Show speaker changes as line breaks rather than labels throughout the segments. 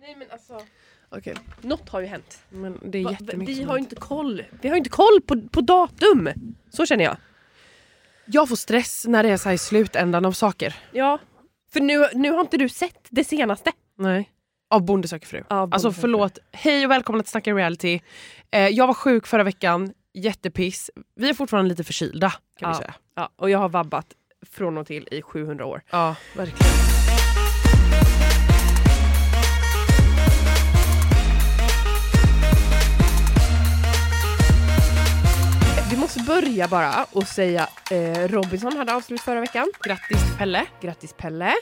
Nej men alltså,
Okej,
något har ju hänt.
men det är
Va-
jättemycket
vi
som
har ju
hänt.
inte koll. Vi har ju inte koll på, på datum. Så känner jag.
Jag får stress när det är så här i slutändan av saker.
Ja. För nu, nu har inte du sett det senaste.
Nej. Av Bonde söker fru.
Av
Alltså
Bonde söker
förlåt, hej och välkomna till Snacka reality. Eh, jag var sjuk förra veckan, jättepiss. Vi är fortfarande lite förkylda kan vi
Ja.
säga.
Ja, och jag har vabbat från och till i 700 år.
Ja, verkligen.
Vi måste börja bara och säga eh, Robinson hade avslut förra veckan.
Grattis Pelle.
Grattis Pelle.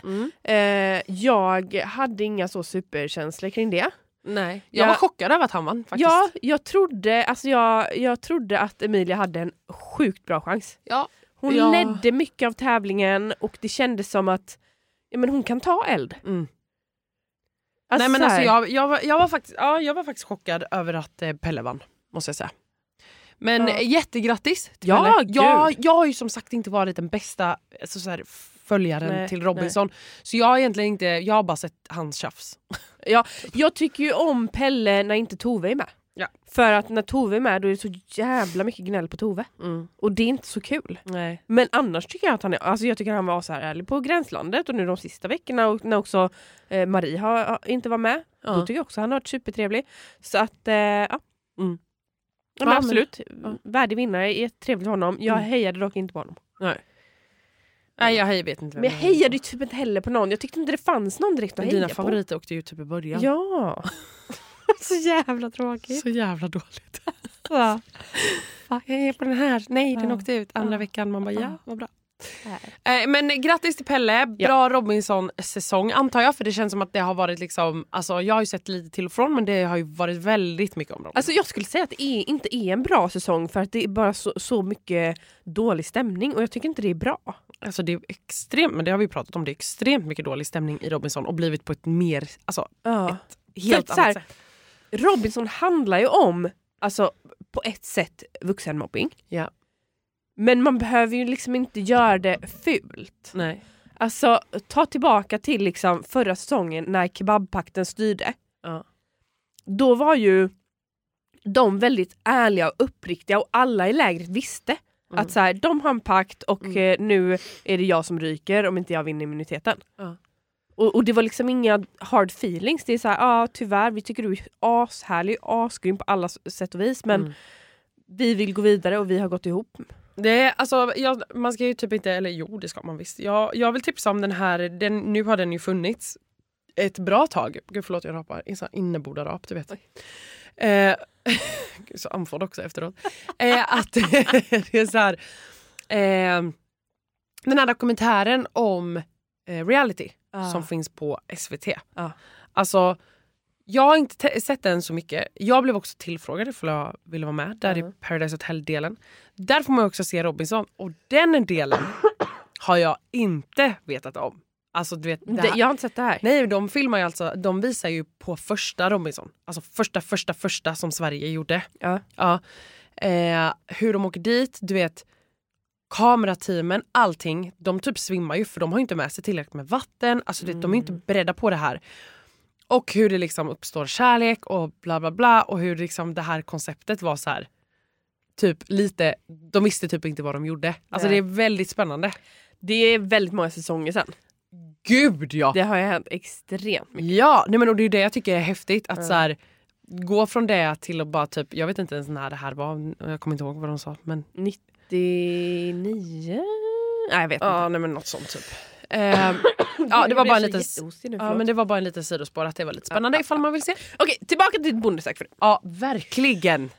Eh, jag hade inga så superkänslor kring det.
Nej, jag
Ja.
var chockad över att han vann faktiskt.
Ja, jag trodde, alltså jag, jag trodde att Emilia hade en sjukt bra chans.
Ja.
Hon
Ja.
ledde mycket av tävlingen och det kändes som att ja, men hon kan ta eld.
Mm.
Alltså,
Nej, men
så här,
alltså, jag, jag, var, jag, var faktiskt, ja, jag var faktiskt chockad över att eh, Pelle vann, måste jag säga. Men
Ja.
eh, jättegrattis till
Ja,
Pelle.
gud.
Jag, jag har ju som sagt inte varit den bästa alltså, så här, följaren
Nej,
till Robinson. Så jag har egentligen inte, jag har bara sett hans tjafs.
jag tycker ju om Pelle när inte Tove är med.
Ja.
För att när Tove är med då är det så jävla mycket gnäll på Tove. Och det är inte så kul.
Nej.
Men annars tycker jag att han, är, alltså jag tycker han var så här ärlig på Gränslandet och nu de sista veckorna och när också eh, Marie har, har, inte var med.
Ja.
Då tycker jag också han har varit supertrevlig. Så att, eh, ja. Ja,
Mm.
men
Ja, men-
absolut,
ja.
värdig vinnare, är trevlig för honom. Jag
Mm.
hejade dock inte på honom.
Nej, jag hej- vet inte vem
Men jag
han är.
hejade ju typ inte heller på någon. Jag tyckte inte det fanns någon direkt att
Men
heja
Dina
på.
favoriter åkte ju typ i början.
Ja. så jävla tråkigt.
Så jävla dåligt.
Ja.
Jag är Eh, på den här. Nej, den
Ja.
åkte ut andra
Ja.
veckan. Man bara,
Ja.
ja, vad bra. Eh, Men grattis till Pelle, bra Robinson-säsong antar jag. För det känns som att det har varit liksom, alltså jag har ju sett lite till och från men det har ju varit väldigt mycket om Robinson.
Alltså jag skulle säga att det är, inte är en bra säsong för att det är bara så, så mycket dålig stämning och jag tycker inte det är bra.
alltså det är extremt, men det har vi ju pratat om, det är extremt mycket dålig stämning i Robinson och blivit på ett mer, alltså
Ja.
helt
För att så
annat
här-
sätt.
Robinson handlar ju om, alltså på ett sätt, vuxenmobbing.
Ja.
Men man behöver ju liksom inte göra det fult.
Nej.
Alltså ta tillbaka till liksom förra säsongen när kebabpakten styrde.
Ja.
Då var ju de väldigt ärliga och uppriktiga och alla i lägret visste
Mm.
att så här, de har en pakt och
Mm.
eh, nu är det jag som ryker om inte jag vinner immuniteten.
Ja.
Och, och det var liksom inga hard feelings. Det är så här, ja ah, tyvärr, vi tycker du är ashärlig, asgrym på alla s- sätt och vis men
Mm.
vi vill gå vidare och vi har gått ihop.
Det är, alltså, jag, man ska ju typ inte, eller jo det ska man visst. Jag, jag vill tipsa om den här, den, nu har den ju funnits ett bra tag. Gud förlåt jag rapar, En sån här innebordarap du vet. Eh, gud, så andfådd också efteråt. Eh, att det är så här, eh, den här dokumentären om eh, reality som finns på SVT.
Ja.
Alltså, jag har inte te- sett den så mycket. Jag blev också tillfrågad ifall jag ville vara med där
Ja.
i Paradise Hotel-delen. Där får man också se Robinson och den delen har jag inte vetat om. Alltså du vet, det
det,
här-
jag har inte sett det här.
Nej, de filmar ju alltså, de visar ju på första Robinson. Alltså första, första, första som Sverige gjorde.
Ja.
Ja. Eh, hur de åker dit, du vet kamerateamen, allting. De typ svimmar ju för de har ju inte med sig tillräckligt med vatten. Alltså du vet, de är ju
Mm.
inte beredda på det här. Och hur det liksom uppstår kärlek och bla bla bla och hur liksom det här konceptet var så här typ lite, de visste typ inte vad de gjorde. Alltså
Nej.
det är väldigt spännande.
Det är väldigt många säsonger sen.
Gud ja!
Det har ju hänt extremt mycket.
Ja, nej men och det är det jag tycker är häftigt. Att
Mm.
så här, gå från det till att bara typ, jag vet inte ens när det här var, jag kommer inte ihåg vad de sa. Men,
99? Nej jag vet
ja, nej men något sånt typ. Ehm, ja, det var bara en liten... Ja, men det var bara en liten sidospår att det var lite spännande ifall man vill se.
Okej, tillbaka till ditt bondesök för
Ja, verkligen.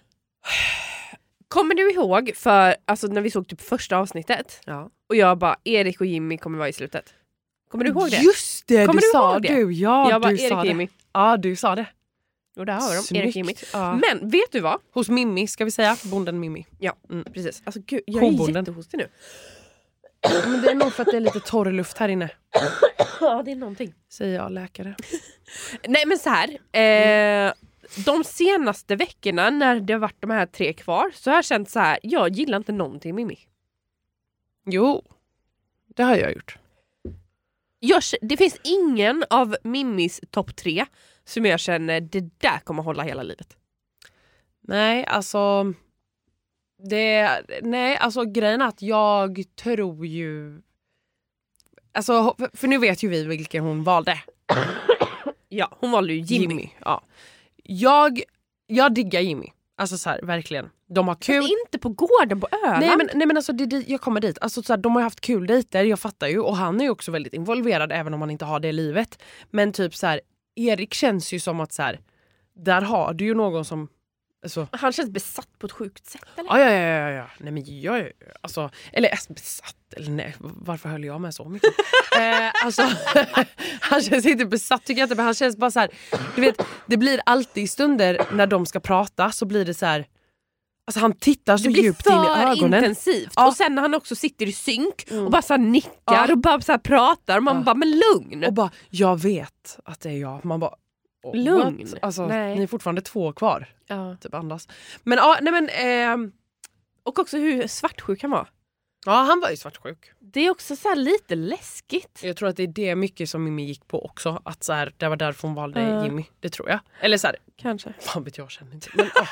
Kommer du ihåg för, alltså, när vi såg typ första avsnittet
Ja.
och jag bara Erik och Jimmy kommer vara i slutet? Kommer du ihåg det?
Just det,
Kommer
det
du
sa
ihåg det?
du. Ja,
jag bara
du
Erik
sa
och
det.
Jimmy.
Ja, du sa det.
Jo där har de, Erik och
Snyggt.
Jimmy.
Ja.
Men vet du vad?
Hos Mimmi, ska vi säga. Bonden Mimmi.
Precis. Alltså gud, jag är
Kobonden.
jättehostig nu.
Men det är nog för att det är lite torr luft här inne,
Ja, det är någonting.
säger jag läkare.
Nej men så här. Eh, de senaste veckorna när det har varit de här tre kvar så har jag känt så här. jag gillar inte någonting Mimmi.
Jo, det har jag gjort.
jag, k- det finns ingen av Mimmis topp tre som jag känner det där kommer hålla hela livet.
Nej, alltså... Det, nej, alltså grejen är att jag tror ju... Alltså, för- för nu vet ju vi vilken hon valde.
Ja, hon valde ju Jimmy.
ja. jag, jag diggar Jimmy. Alltså så här, verkligen. De
Men
har kul.
Inte på gården på Öland.
Nej men, nej men alltså det, är dit- jag kommer dit. Alltså, så här, de har ju haft kul dejter, jag fattar ju. Och han är ju också väldigt involverad även om han inte har det livet. Men typ så här, Erik känns ju som att så här, där har du ju någon som... Alltså,
Han känns besatt på ett sjukt sätt. Eller?
ja, ja, ja, ja, ja. Nej men jag är alltså, eller alltså, besatt, eller nej, varför höll jag med så mycket? eh, alltså, han känns inte besatt tycker jag inte, men han känns bara så här, du vet, det blir alltid i stunder när de ska prata så blir det så här, alltså han tittar så
Det blir
djupt in i
för
ögonen.
intensivt.
Ja.
Och sen när han också sitter i synk
Mm.
och bara så här nickar
Ja.
och bara så här pratar. Man
Ja.
bara, men lugn.
Och bara, jag vet att det är jag. Man bara, oh,
Lugn.
what? Alltså,
Nej.
ni är fortfarande två kvar.
ja.
Typ andas. Men ja, nej men, ehm,
och också hur svartsjuk han var.
ja han var ju svartsjuk.
Det är också så här lite läskigt.
Jag tror att det är det mycket som Mimmi gick på också. Att så här, det var därför hon valde
Ja.
Jimmy. Det tror jag. Eller så här,
Kanske.
fan vet jag, jag känner inte. Men, ah,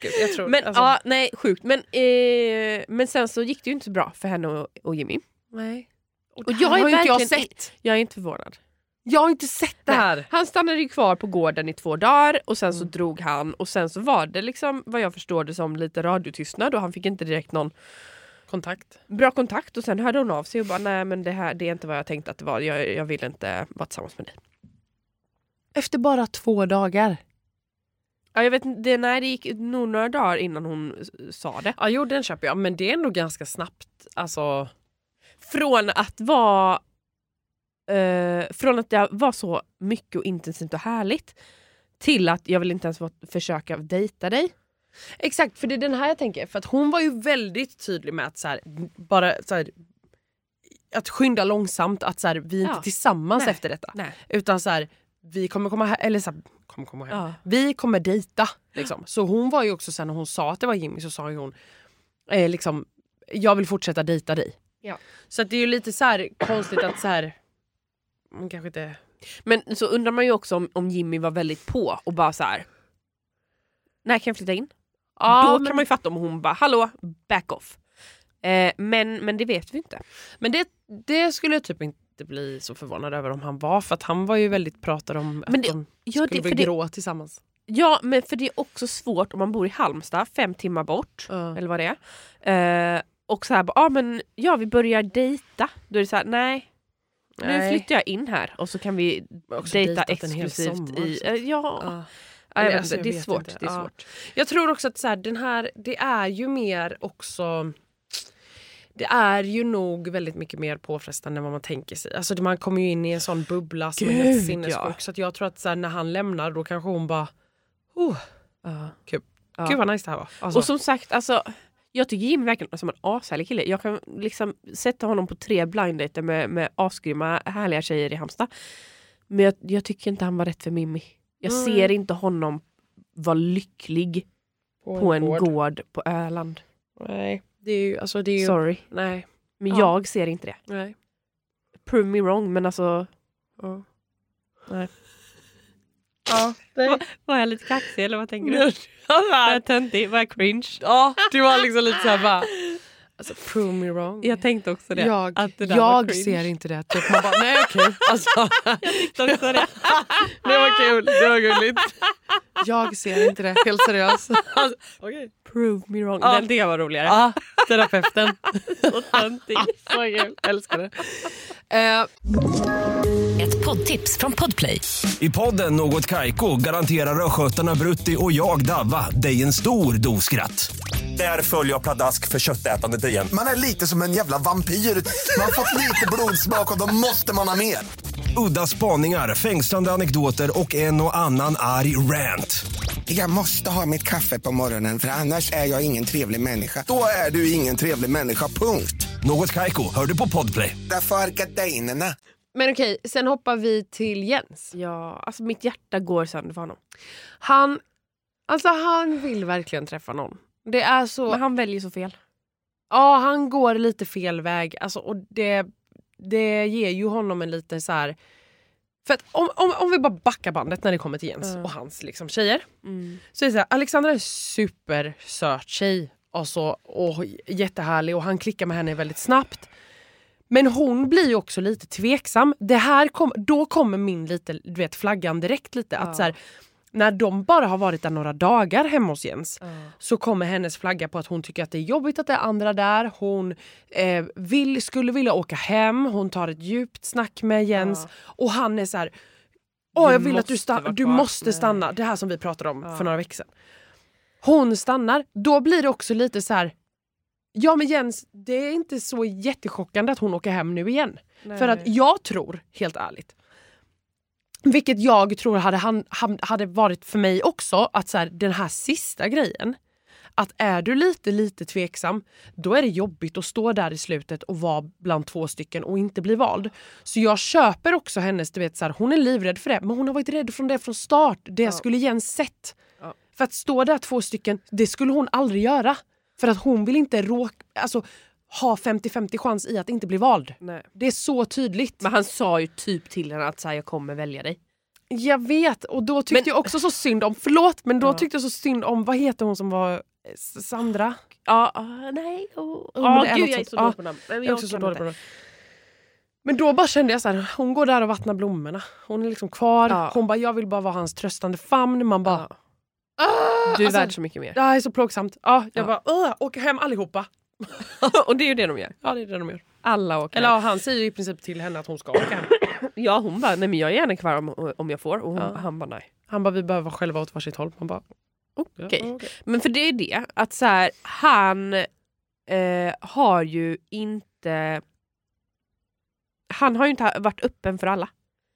gud, jag tror,
Men
alltså,
ja, nej sjukt. Men, eh, men sen så gick det ju inte så bra för henne och, och Jimmy.
nej. Och,
Och
jag har
är
ju inte jag
verkligen-
sett.
Jag är inte förvånad.
Jag har inte sett det
Nej.
här.
Han stannade ju kvar på gården i två dagar och sen så drog han och sen så var det liksom vad jag förstår det som lite radiotystnad och han fick inte direkt någon
Kontakt.
bra kontakt och sen hörde hon av sig och bara nej men det här det är inte vad jag tänkte att det var. Jag, jag vill inte vara tillsammans med dig.
Efter bara två dagar.
Ja, jag vet inte, det, nej det gick nog några dagar innan hon s- sa det.
Ja, jo den köper jag. Men det är nog ganska snabbt. Alltså,
Från att vara eh, från att det var så mycket och intensivt och härligt till att jag vill inte ens vara, försöka dejta dig.
Exakt, för det är den här jag tänker. För att hon var ju väldigt tydlig med att så här, bara så här, att skynda långsamt, att så här, vi är inte
Ja.
tillsammans
Nej.
efter detta.
Nej.
Utan så här, vi kommer komma här, eller så här, kommer komma hem.
Ja.
Vi kommer dejta. Liksom. Så hon var ju också sen när hon sa att det var Jimmy så sa ju hon eh, liksom, jag vill fortsätta dejta dig.
Ja.
Så att det är ju lite så här konstigt att så här, hon kanske inte...
Men så undrar man ju också om, om Jimmy var väldigt på och bara så här. När kan jag flytta in? Då kan man ju fatta om hon bara hallå, back off. Eh, men, men det vet vi inte.
Men det, det skulle jag typ inte bli så förvånad över om han var för att han var ju väldigt pratad om
Men
att
det-
de
Ja,
skulle
det,
bli
för det,
grå tillsammans.
ja, men för det är också svårt om man bor i Halmstad, fem timmar bort, eller vad det är. Eh, och så här, bara, ah, men, ja vi börjar dejta. Då är det så här, nej, nu flyttar jag in här och så kan vi dejta exklusivt i... eh, ja, ja, jag vet
Alltså,
inte,
jag
det är
vet
svårt.
inte.
Det är
Ja.
svårt.
Jag tror också att så här, den här, det är ju mer också... Det är ju nog väldigt mycket mer påfrestande än vad man tänker sig. Alltså det- man kommer ju in i en sån bubbla som är
Gud,
helt
ja.
sinnessjuk. Så att jag tror att så här, när han lämnar då kanske hon bara... Oh, Kul.
Ja.
Gud vad nice det här var. Alltså,
Och som sagt, alltså, jag tycker Jim verkar som en ashärlig kille. Jag kan liksom sätta honom på tre blind dater med, med asgrymma härliga tjejer i Halmstad. Men jag, jag tycker inte han var rätt för Mimmi. Jag
Nej.
ser inte honom vara lycklig på en gård, på Öland.
Nej, det är ju... Alltså, det är ju
Sorry.
Nej.
Men
Ja.
jag ser inte det.
nej.
Prove me wrong, men alltså...
Ja.
Nej.
Ja,
Var jag lite kaxig eller vad tänker
nej.
töntig? Var jag cringe?
Ja, du var liksom lite såhär bara... Alltså, prove me wrong.
tänkte också
jag
att det där var
jag
cringe.
ser inte det. Typ. Man bara, nej okej. Alltså,
tänkte också det.
det var kul, det var gulligt. Jag ser inte det, helt seriöst. Alltså, okay.
Prove me wrong.
Ja.
Den tycker jag var roligare.
Ja, terapeuten.
Så töntig.
Så kul, älskar det. Eh,
Ett poddtips från Podplay.
I podden Något Kaiko garanterar östgötarna Brutti och jag, Davva, dig en stor dos skratt. Där följer jag pladask för köttätandet igen.
Man är lite som en jävla vampyr. Man har fått lite blodsmak och då måste man ha mer.
Udda spaningar, fängslande anekdoter och en och annan arg rant.
Jag måste ha mitt kaffe på morgonen för annars är jag ingen trevlig människa. Då är du ingen trevlig människa, punkt.
Något Kaiko, hör du på Podplay.
Därför är gardinerna.
men okej, sen hoppar vi till Jens.
Ja, alltså mitt hjärta går sönder för honom.
Han, alltså, han vill verkligen träffa någon. Det är så
Men han väljer så fel.
Ja, han går lite fel väg. Alltså, och det, det ger ju honom en lite så här... För att om, om, om vi bara backar bandet när det kommer till Jens och hans liksom, tjejer. Så är det så här, Alexandra är en supersöt tjej. Alltså, och jättehärlig och han klickar med henne väldigt snabbt. Men hon blir ju också lite tveksam. Det här kom, då kommer min lite, du vet, flaggan direkt lite. Att så här, när de bara har varit där några dagar hemma hos Jens så kommer hennes flagga på att hon tycker att det är jobbigt att det är andra där. Hon eh, vill, skulle vilja åka hem, hon tar ett djupt snack med Jens och han är så här Åh,
Du
jag vill att du
måste
stannar,
vara
du
kvar."
måste
Nej.
stanna. Det här som vi pratade om för några veckor sedan. Hon stannar, då blir det också lite så här Ja men Jens, det är inte så jättechockande att hon åker hem nu igen. För att jag tror, helt ärligt, vilket jag tror hade, han, han, hade varit för mig också, att så här, den här sista grejen, att är du lite, lite tveksam, då är det jobbigt att stå där i slutet och vara bland två stycken och inte bli vald. Så jag köper också hennes, du vet, så här, hon är livrädd för det, men hon har varit rädd från det från start. Det skulle Jens sett. För att stå där två stycken, det skulle hon aldrig göra. För att hon vill inte råka, alltså, ha 50-50 chans i att inte bli vald.
Nej.
Det är så tydligt.
Men han sa ju typ till henne att så här, jag kommer välja dig.
Jag vet, och då tyckte
Men-
jag också så synd om, förlåt, men då
Ja.
tyckte jag så synd om, vad heter hon som var eh, S- Sandra?
Ja, ah, nej. Oh,
men det är
gud
något
jag är
sånt.
så
Ja,
dålig på namn. Nej, men
Jag är också så
kan
dålig
inte.
på det. Men då bara kände jag så här, hon går där och vattnar blommorna. Hon är liksom kvar.
Ja.
Hon bara, jag vill bara vara hans tröstande famn. Man bara,
Ja.
"Ah!"
Du är
alltså,
värd så mycket mer.
Det här är så plågsamt. Ja, jag
Ja.
bara, "Åh, åka hem allihopa.
och det är ju det de gör.
Ja, det är det de gör.
Alla åker
Eller ja, han säger ju i princip till henne att hon ska åka hem.
Ja hon bara, nej men jag är gärna kvar om, om jag får. Och hon,
Ja.
han bara nej.
Han bara, vi behöver vara själva åt varsitt håll. Man bara,
Okej. Men för det är det, att så här, han eh, har ju inte... Han har ju inte varit öppen för alla.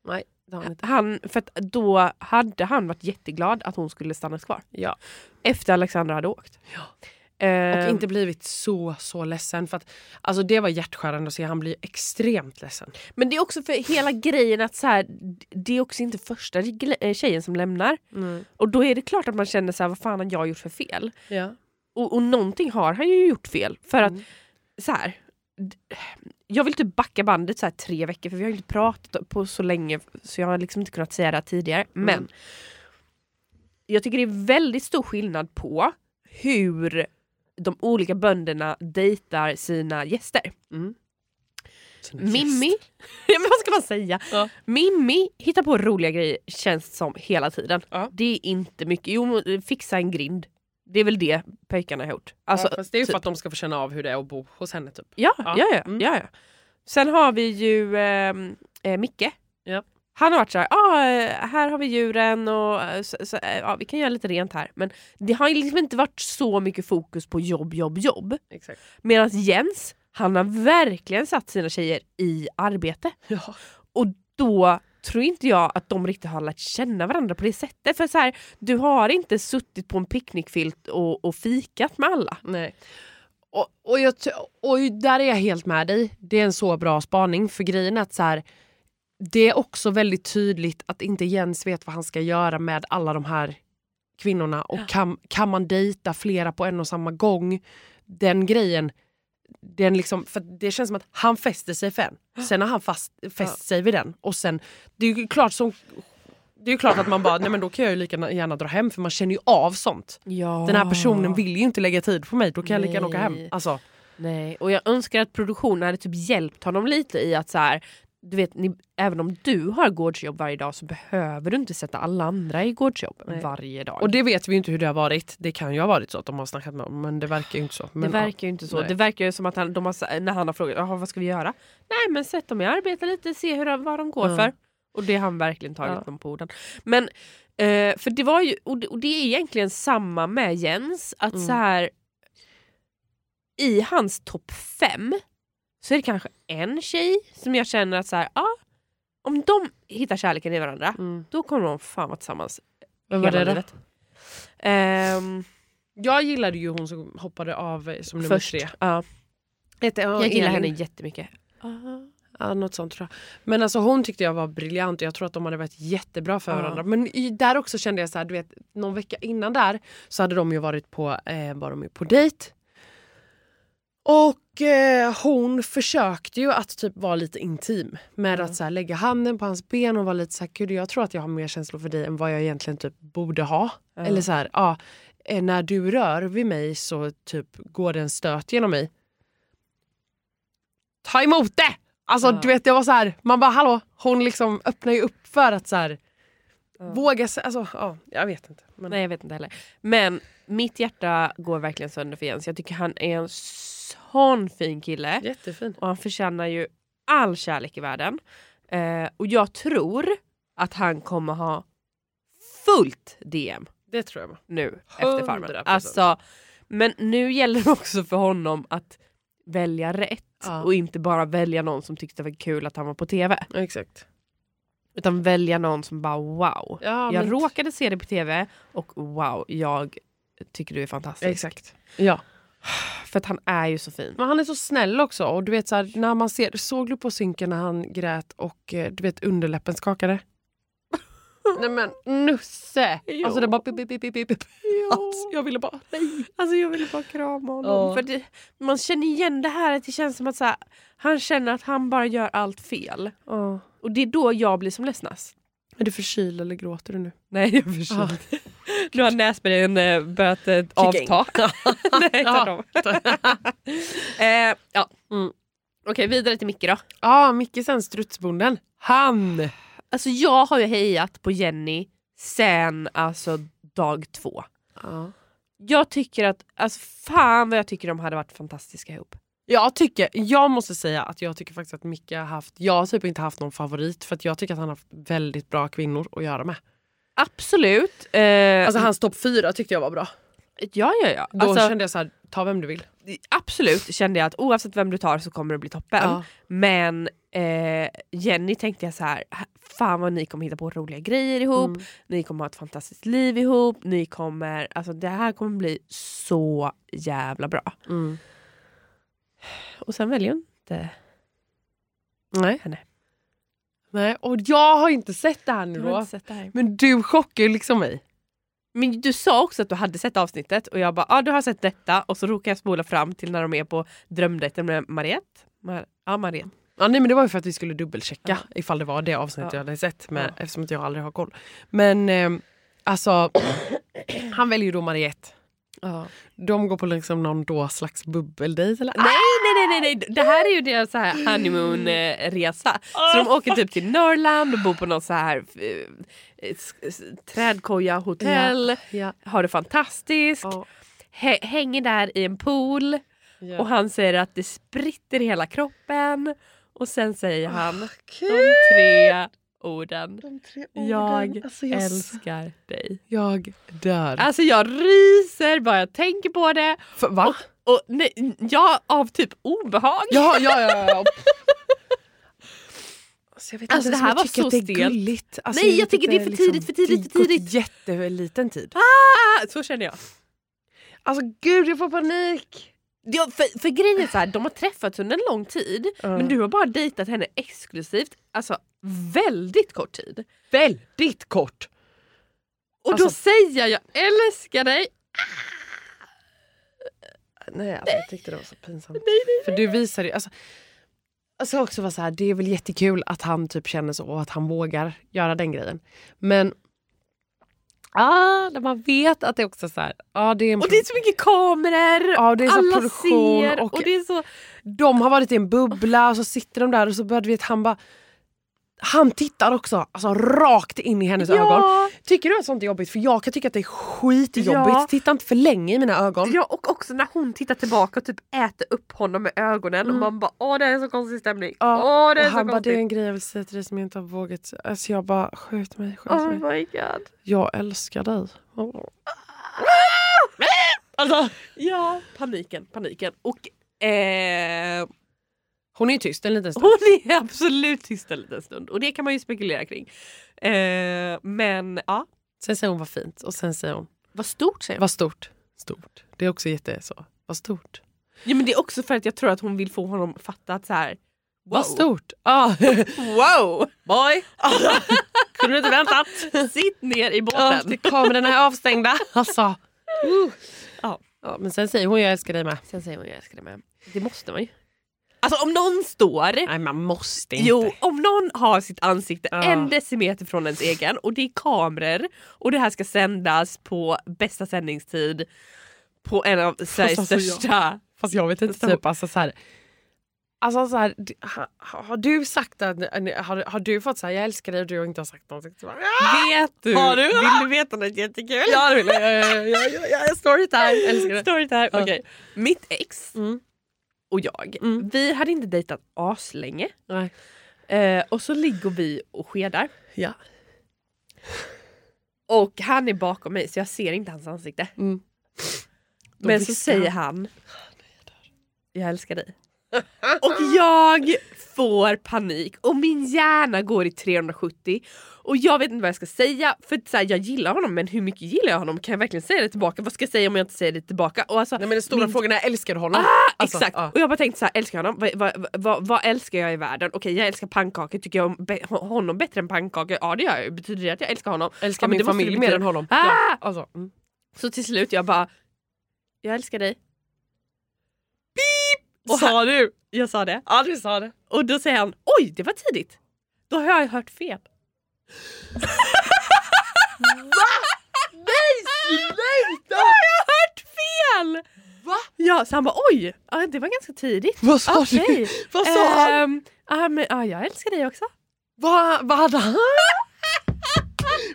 Nej, det har han inte.
Han, för att då hade han varit jätteglad att hon skulle stanna kvar.
Ja.
Efter Alexandra hade åkt. Eh,
Och inte blivit så, så ledsen. För att, alltså det var hjärtskärande att se. Han blir extremt ledsen.
Men det är också för hela grejen att så här, d- det är också inte första gle- eh, tjejen som lämnar.
Mm.
Och då är det klart att man känner så här, vad fan har jag gjort för fel?
Ja.
Och, och någonting har han ju gjort fel. För att så här, d- jag vill typ backa bandet så här tre veckor för vi har ju inte pratat på så länge så jag har liksom inte kunnat säga det här tidigare.
Mm.
Men jag tycker det är väldigt stor skillnad på hur de olika bönderna dejtar sina gäster.
Mm.
Mimmi, ja, men vad ska man säga?
Ja.
Mimmi hittar på roliga grejer känns som hela tiden.
Ja.
Det är inte mycket. Jo, fixa en grind. Det är väl det pojkarna har gjort. Alltså,
Alltså, fast det är ju för
typ.
att de ska få känna av hur det är att bo hos henne. Typ.
Ja,
Ja.
ja, ja.
Mm.
ja, ja. Sen har vi ju ehm, eh, Micke.
Ja.
Han har varit såhär, ah, eh, här har vi djuren och eh, så, så, eh, ja, vi kan göra lite rent här. Men det har ju liksom inte varit så mycket fokus på jobb, jobb, jobb.
Exakt.
Medan Jens, han har verkligen satt sina tjejer i arbete.
Ja.
Och då tror inte jag att de riktigt har lärt känna varandra på det sättet. För så här, du har inte suttit på en picknickfilt och, och fikat med alla.
Nej. Och, och, jag, ty- och där är jag helt med dig. Det är en så bra spaning. För grejen är att så här, det är också väldigt tydligt att inte Jens vet vad han ska göra med alla de här kvinnorna. Och kan, kan man dejta flera på en och samma gång? Den grejen. Den liksom, för det känns som att han fäster sig för en. Sen har han fast, fäst sig vid den. Och sen, det är ju klart, som, det är ju klart att man bara, nej men då kan jag ju lika gärna dra hem för man känner ju av sånt.
Ja.
Den här personen vill ju inte lägga tid på mig, då kan jag lika gärna åka hem.
Nej.
Alltså,
Nej, och jag önskar att produktionen hade typ hjälpt honom lite i att så här, du vet, ni, även om du har gårdsjobb varje dag så behöver du inte sätta alla andra i gårdsjobb varje dag.
och det vet vi ju inte hur det har varit. Det kan ju ha varit så att de har snackat med honom, men det verkar ju inte så. Men,
det verkar ju inte så.
Nej.
Det verkar ju som att han, de har, sa- när han har frågat "Jaha, vad ska vi göra? Nej men sätt dem i arbete lite, se hur, de- vad de går
Mm.
för. Och det har han verkligen tagit
Ja.
dem på orden. Men, eh, för det var ju, och det, och det är egentligen samma med Jens, att
Mm.
så här i hans topp fem så är det kanske en tjej som jag känner att så här, ah, om de hittar kärleken i varandra,
Mm.
då kommer de fan vara tillsammans
Vem var
hela
det då?
livet. Ehm,
Jag gillade ju hon som hoppade av eh, som nummer
först.
tre.
Ja.
Hette hon
Jag gillar
Elin?
henne jättemycket.
Ja, något sånt tror jag. Men alltså hon tyckte jag var briljant och jag tror att de hade varit jättebra för
Ja.
varandra. Men i, där också kände jag så här, du vet, någon vecka innan där så hade de ju varit på, eh, var de ju på dejt. Och Och eh, hon försökte ju att typ vara lite intim med att så här, lägga handen på hans ben och vara lite så här, gud jag tror att jag har mer känslor för dig än vad jag egentligen typ borde ha. Eller så här, ja, eh, när du rör vid mig så typ går det en stöt genom mig. Ta emot det! Alltså du vet, jag var så här, man bara hallå, hon liksom öppnar ju upp för att så här, våga sig, alltså ja, jag vet inte. Men,
Nej jag vet inte heller. Men mitt hjärta går verkligen sönder för Jens. Jag tycker han är en sån fin kille.
Jättefin.
Och han förtjänar ju all kärlek i världen. Eh, och jag tror att han kommer ha fullt DM
Det tror jag.
nu efter Farmen.
100%.
Alltså, men nu gäller det också för honom att välja rätt
Ja.
och inte bara välja någon som tyckte det var kul att han var på TV.
Ja, exakt.
Utan välja någon som bara wow.
Ja,
jag
men-
råkade se det på TV och wow, jag tycker du är fantastisk.
Exakt. Ja.
För att han är ju så fin.
Men han är så snäll också. Och du vet så här, när man ser, såg du på synken när han grät och eh, du vet underläppen skakade? Nej men Nusse! Alltså det bara pip, pip, pip, pip, pip. Alltså, jag ville bara nej.
Alltså jag ville bara krama honom.
Ja.
För det, man känner igen det här att det känns som att så här, han känner att han bara gör allt fel.
Ja.
Och det är då jag blir som ledsnast.
Är du förkyld eller gråter du nu?
Nej jag förstår. Nu har näsbreyen eh, börjat eh, avta. Nej, tvärtom. eh, ja.
Mm.
Okej vidare till Micke då.
Ja, ah, Micke sen, strutsbonden. Han!
Alltså jag har ju hejat på Jenny sen alltså dag två.
Ja.
Jag tycker att, alltså fan vad jag tycker de hade varit fantastiska ihop.
Jag tycker, jag måste säga att jag tycker faktiskt att Micke har haft, jag har typ inte haft någon favorit för att jag tycker att han har haft väldigt bra kvinnor att göra med.
Absolut. Eh,
Alltså hans topp fyra tyckte jag var bra.
ja ja ja.
Då
Alltså,
kände jag så här, ta vem du vill.
Absolut kände jag att oavsett vem du tar så kommer det bli toppen.
Ja.
Men eh, Jenny tänkte jag så här, fan vad ni kommer hitta på roliga grejer ihop, ni kommer ha ett fantastiskt liv ihop, ni kommer, alltså det här kommer bli så jävla bra.
Mm.
Och sen väljer hon inte
Nej.
henne.
Nej, och jag har inte sett det här nu
Jag har
då.
inte sett det här.
Men du chockar ju liksom mig.
Men du sa också att du hade sett avsnittet och jag bara ja ah, du har sett detta och så råkar jag spola fram till när de är på drömdejten med Mariette. Mar- ja Mariette.
Ja, nej, men det var ju för att vi skulle dubbelchecka ifall det var det avsnittet
Ja.
jag hade sett med,
Ja.
eftersom att jag aldrig har koll. Men eh, alltså, han väljer ju då Mariette. De går på liksom någon då slags bubbeldejt eller?
Nej, nej, nej, nej, nej. Det här är ju deras så här honeymoon-resa. Så de åker typ till Norrland och bor på någon så här eh, s- s- trädkoja, hotell.
Ja.
Har det fantastiskt.
Ja.
Hä- hänger där i en pool.
Ja.
Och han säger att det spritter i hela kroppen. Och sen säger han
Kul!
de tre orden.
De tre
Jag
alltså, jag, Äh.
älskar dig.
jag dör.
Alltså jag ryser bara jag tänker på det.
För, va?
Och nej, jag av typ obehag.
Ja, ja, ja. ja. Alltså, jag vet
Alltså,
ens
det här
om jag
var
tycker
så
att det är
stelt.
gulligt. Alltså,
Nej, jag
vet
tycker det är
inte,
för tidigt, för tidigt, för
liksom- det har gått
tidigt.
Jätteliten tid.
Ah, så känner jag.
Alltså gud, jag får panik.
Ja, för, för grejen är så här, de har träffats under en lång tid men du har bara dejtat henne exklusivt, alltså väldigt kort tid.
Väldigt kort.
Och då
Alltså-
säger jag jag älskar dig!
Nej, alltså, jag tyckte det var så pinsamt. För du visade ju... Alltså, alltså också var så här, det är väl jättekul att han typ känner så och att han vågar göra den grejen. Men ah, när man vet att det är också så här, ah, det är en
Och det är så mycket kameror,
Ja, det är så
alla
produktion
ser Alltså, och,
och-
det är så...
De har varit i en bubbla och så sitter de där och så börjar du vet han bara han tittar också alltså, rakt in i hennes ögon.
Ja,
Tycker du att sånt är jobbigt? För jag kan tycka att det är skitjobbigt.
Ja.
Titta inte för länge i mina ögon.
ja, och också när hon tittar tillbaka och typ äter upp honom med ögonen och man bara åh det här är så konstig stämning.
Ja,
Åh det är
och
så
han bara, det är
konstigt.
en grej jag vill säga till dig som jag inte har vågat. Alltså jag bara, skjut mig, skjut mig.
Oh my god.
Jag älskar dig. Åh.
Ja, paniken, paniken. Och eh,
Hon är ju tyst en liten stund.
Hon är absolut tyst en liten stund och det kan man ju spekulera kring. Eh, men ja,
Sen säger hon vad fint och sen säger hon,
vad stort säger hon.
vad stort. Stort. Det är också jätte så. Vad stort.
Ja, men det är också för att jag tror att hon vill få honom att fatta att så här. Wow.
Vad stort. Ah.
Wow!
Boy.
Kunde du inte väntat? Sitt ner i
Ja,
båten.
det kamerorna är avstängda. Alltså.
Ja.
Ja, men sen säger hon jag älskar dig med.
Sen säger hon jag älskar dig med. Det måste man ju. Alltså om någon står,
Nej, man måste inte.
jo om någon har sitt ansikte
Ja.
en decimeter från ens egen och det är kameror och det här ska sändas på bästa sändningstid på en av Sveriges
alltså, jag-
största...
Fast jag vet inte, typ alltså så här. Alltså så här, d- ha, ha- har du sagt att, eh, har, har du fått så här, jag älskar dig och du har inte sagt någonting? Så bara, "Ah!"
Vet du?
Har du?
Vill du veta något jättekul?
Ja, det vill jag. Jag, jag, jag, jag, jag står inte här. Älskar dig.
Storytime.
Ja.
Okej. Mitt ex
Mm.
och jag,
Mm.
vi hade inte dejtat aslänge.
Nej.
Eh, och så ligger vi och skedar.
Ja.
Och han är bakom mig så jag ser inte hans ansikte.
Mm. Ah, Då
Men så
viskar
säger han Jag älskar dig. Och jag får panik och min hjärna går i 370 och jag vet inte vad jag ska säga för att så här, jag gillar honom men hur mycket gillar jag honom? Kan jag verkligen säga det tillbaka? Vad ska jag säga om jag inte säger det tillbaka? Och alltså,
Nej, men den stora
min
frågan är, älskar du honom? Alltså,
Ah, Exakt!
ja.
Och jag bara tänkte så här, älskar jag honom? Vad, vad, vad, vad älskar jag i världen? Okej jag älskar pannkakor, tycker jag om be- honom bättre än pannkakor? Ja det gör jag ju. betyder det att jag älskar honom?
Älskar
Ja, men
min
det måste
familj
det
mer
betyda.
än honom.
Ah!
Ja, alltså, mm.
Så till slut jag bara, jag älskar dig.
Och sa du?
Jag sa det.
Ja, du sa det.
Och då säger han, oj det var tidigt. Då har jag hört fel.
Sluta!
Då har jag hört fel! Va? Ja, så han bara oj, ja, det var ganska tidigt.
Vad sa du?
Okej.
Vad sa han?
Ehm, ja, men, ja, jag älskar dig också.
Vad, vad hade han...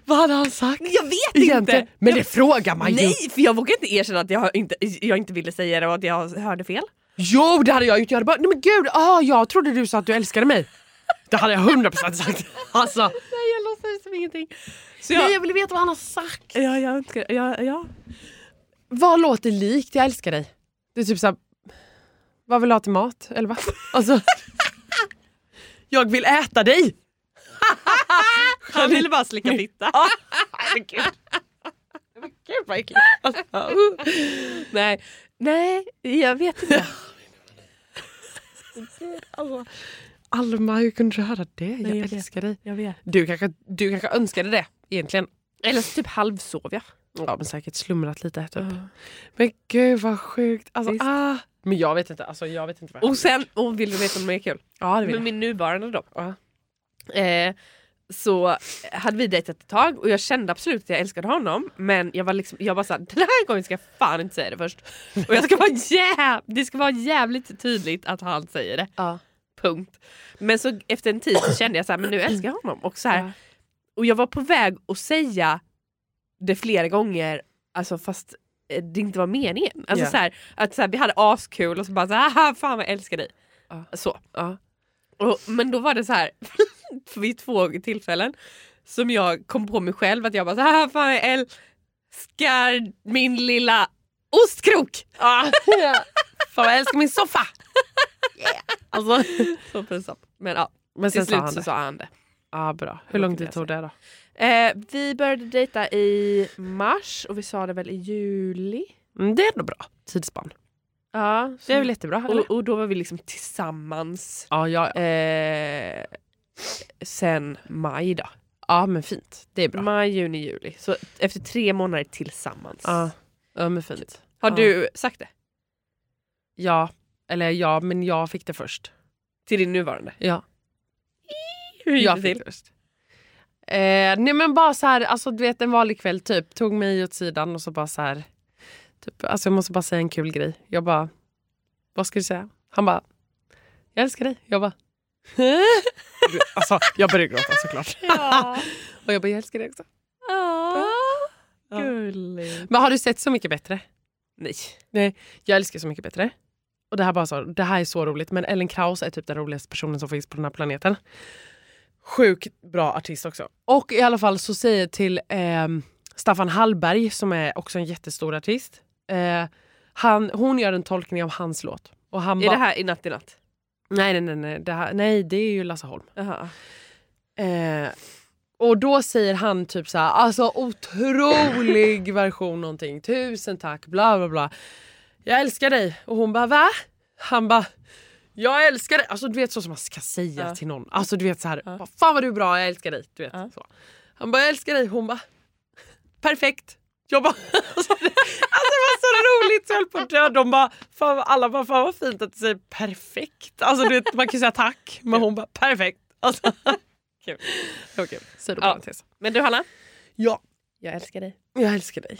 vad hade han sagt?
Jag vet
Egentligen.
inte.
Men det frågar man ju!
Nej, för jag vågar inte erkänna att jag inte, jag inte ville säga det och att jag hörde fel.
Jo, det hade jag gjort. Jag hade bara, nej men gud, ah, jag trodde du sa att du älskade mig. Det hade jag 100% sagt. Alltså,
Nej, jag låtsades som ingenting. Så
nej,
jag,
jag vill veta vad han har sagt.
ja, jag önskar, ja, ja.
Vad låter likt jag älskar dig? Det är typ såhär, vad vill du ha till mat? Eller vad? Alltså, jag vill äta dig!
Han ville bara slicka fitta.
Gud vad äckligt. Alltså, uh.
Nej. Nej, jag vet inte.
alltså, Alma, hur kunde du höra det? Jag,
Nej, jag vet.
älskar dig.
Jag vet.
Du kanske, du kanske önskade det egentligen.
Eller så typ halvsov jag.
Ja, men säkert slumrat lite. Typ. Men gud vad sjukt. Alltså,
Visst.
ah. Men jag vet inte. Alltså, jag vet inte vad jag
Och sen, och vill du veta något mer kul?
Ja, det
Med
vill jag.
min nuvarande då.
Ja.
Eh, så hade vi dejtat ett tag och jag kände absolut att jag älskade honom men jag var liksom, jag bara såhär den här gången ska jag fan inte säga det först. Och jag ska vara jäv, det ska vara jävligt tydligt att han säger det.
Ja.
Punkt. Men så efter en tid så kände jag såhär men nu älskar jag honom och så här,
Ja.
och jag var på väg att säga det flera gånger alltså fast eh, det inte var meningen. Alltså
Ja.
så här, att så här, vi hade askul och så bara så här, "Haha, fan vad jag älskar dig.
Ja.
Så.
Ja.
Och, men då var det så här vid två tillfällen som jag kom på mig själv att jag bara så här fan jag älskar min lilla ostkrok.
Ah. Fan vad jag älskar min soffa! Alltså.
Så pinsamt. Men ja,
Men
till
sen
slut
sa han
så
det.
sa han det.
Ah, bra. Hur lång tid tog det då?
Eh, vi började dejta i mars och vi sa det väl i juli.
Mm, det är ändå bra tidsspann.
Ja,
Det är väl jättebra? Eller?
och, och då var vi liksom tillsammans
Ja, ja, ja.
eh, sen maj då.
ja, men fint. Det är bra.
Maj, juni, juli. Så efter tre månader tillsammans.
Ja. Typ. ja, men fint.
Har
Ja.
du sagt det?
Ja, eller ja, men jag fick det först.
Till din nuvarande?
Ja.
Hur gick det
Jag fick
till?
det först. Eh, nej men bara så här, alltså du vet en vanlig kväll typ, tog mig åt sidan och så bara så här, typ, alltså jag måste bara säga en kul grej. Jag bara, vad ska du säga? Han bara, jag älskar dig. Jag bara, Du, alltså jag började gråta såklart. och jag bara, jag älskar dig också. Ja.
Gulligt.
Men har du sett Så mycket bättre?
Nej.
Nej, jag älskar Så mycket bättre. Och det här, bara så, det här är så roligt, men Ellen Kraus är typ den roligaste personen som finns på den här planeten. Sjukt bra artist också. Och i alla fall så säger till ehm, Staffan Hallberg, som är också en jättestor artist. Eh, han, hon gör en tolkning av hans låt. Och han
Är
bara,
det här i natt i natt?
Nej, nej, nej, nej, det här, nej, det är ju Lasse Holm.
Aha.
Eh, och då säger han typ så här, alltså otrolig version någonting, tusen tack, bla bla bla. Jag älskar dig. Och hon bara, va? Han bara, jag älskar dig. Alltså du vet så som man ska säga
Ja.
till någon. Alltså du vet så här,
Ja.
"Vad fan vad du är bra, jag älskar dig. Du vet,
Ja.
så. Han bara, jag älskar dig. Hon bara, perfekt. Jag bara, alltså, det, alltså det var så roligt så jag höll på att dö. De bara, fan, alla bara, fan vad fint att du säger perfekt. Alltså du vet, man kan ju säga tack, men hon bara perfekt. Alltså, kul. Det var kul. Sidoparentes.
Men du Hanna,
Ja.
jag älskar dig.
jag älskar dig.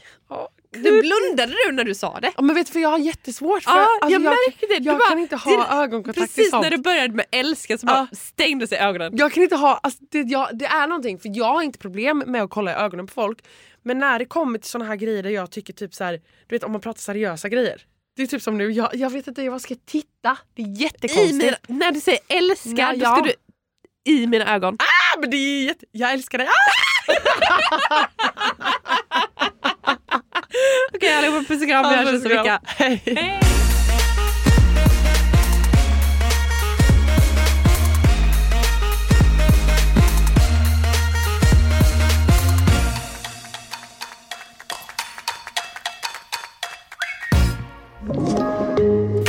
Du blundade du när du sa det.
Ja, men vet du, för jag har jättesvårt för... alltså,
Ja, jag märkte det. Du
jag, jag
bara,
kan inte ha
det-
ögonkontakt i
Precis
sånt. Ah.
när du började med älska så
Ja.
bara stängde sig ögonen.
Jag kan inte ha, alltså det, jag, det är någonting, för jag har inte problem med att kolla i ögonen på folk. Men när det kommer till såna här grejer där jag tycker typ så här, du vet om man pratar seriösa grejer. Det är typ som nu, jag, jag vet inte vad jag ska titta. Det är
I
jättekonstigt.
mina, när du säger älska,
Ja,
då ska
ja.
du i mina ögon.
Ah, men det är jätte... Jag älskar dig! Ah!
Okej allihopa, puss och kram, vi hörs nästa vecka.
Hej!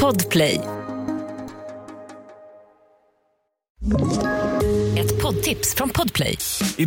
Podplay. Ett poddtips från Podplay.
I